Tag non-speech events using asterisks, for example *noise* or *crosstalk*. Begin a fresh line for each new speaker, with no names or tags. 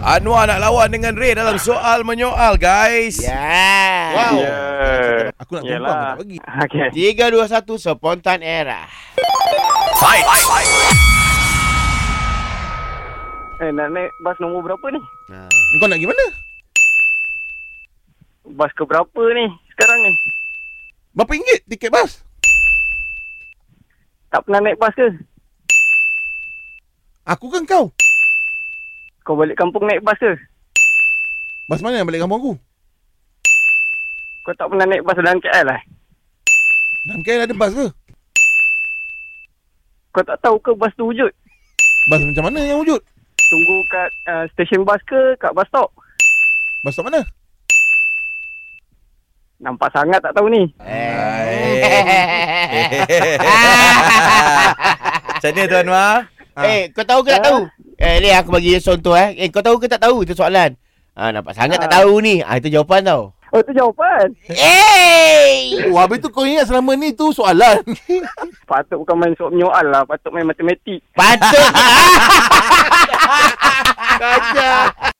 Anwar nak lawan dengan Ray dalam soal menyoal guys.
Ya. Yeah.
Wow.
Yeah.
Aku nak tumpang,
Yelah.
aku tak bagi.
Okay.
Tiga, dua, satu. Spontan era.
Eh, nak naik bas nombor berapa ni?
Kau nak pergi mana?
Bas ke berapa ni sekarang ni?
Berapa ringgit tiket bas?
Tak pernah naik bas ke?
Aku kan kau.
Kau balik kampung naik bas ke?
Bas mana yang balik kampung aku?
Kau tak pernah naik bas dalam KL lah?
Dalam KL ada bas ke?
Kau tak tahu ke bas tu wujud?
Bas macam mana yang wujud?
Tunggu kat uh, stesen bas ke kat bus stop?
Bas stop mana?
Nampak sangat tak tahu ni.
Eh.
Hai. *laughs* Macam mana tu Anwar?
Eh, kau tahu ke tak
Ah.
tahu? Eh, ni aku bagi contoh eh. Eh, kau tahu ke tak tahu? Itu soalan. Ah, nampak sangat tak tahu ni. Ah, itu jawapan tau.
Oh, tu jawapan.
Hey!
Oh, habis tu kau ingat selama ni tu soalan.
Patut bukan main soal menyoal lah. Patut main matematik.
Patut.
Kacau.